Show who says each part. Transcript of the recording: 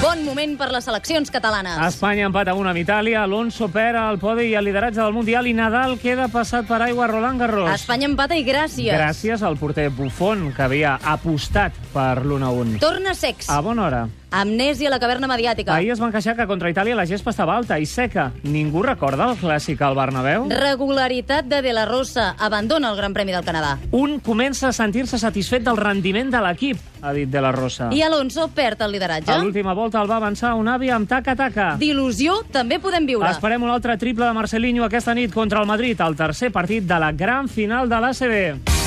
Speaker 1: Bon moment per les seleccions catalanes.
Speaker 2: Espanya empata 1 amb Itàlia, Alonso perd el podi i el lideratge del Mundial i Nadal queda passat per aigua a Roland Garros.
Speaker 1: Espanya empata i gràcies.
Speaker 2: Gràcies al porter Buffon, que havia apostat per l'1-1.
Speaker 1: Torna sex.
Speaker 2: A bona hora.
Speaker 1: Amnèsia a la caverna mediàtica.
Speaker 2: Ahir es van queixar que contra Itàlia la gespa estava alta i seca. Ningú recorda el clàssic al Bernabéu?
Speaker 1: Regularitat de De La Rosa. Abandona el Gran Premi del Canadà.
Speaker 2: Un comença a sentir-se satisfet del rendiment de l'equip, ha dit De La Rosa.
Speaker 1: I Alonso perd el
Speaker 2: A
Speaker 1: lideratge.
Speaker 2: l'última volta el va avançar un avi amb taca-taca.
Speaker 1: D'il·lusió també podem viure.
Speaker 2: Esperem un altre triple de Marcelinho aquesta nit contra el Madrid, el tercer partit de la gran final de l'ACB.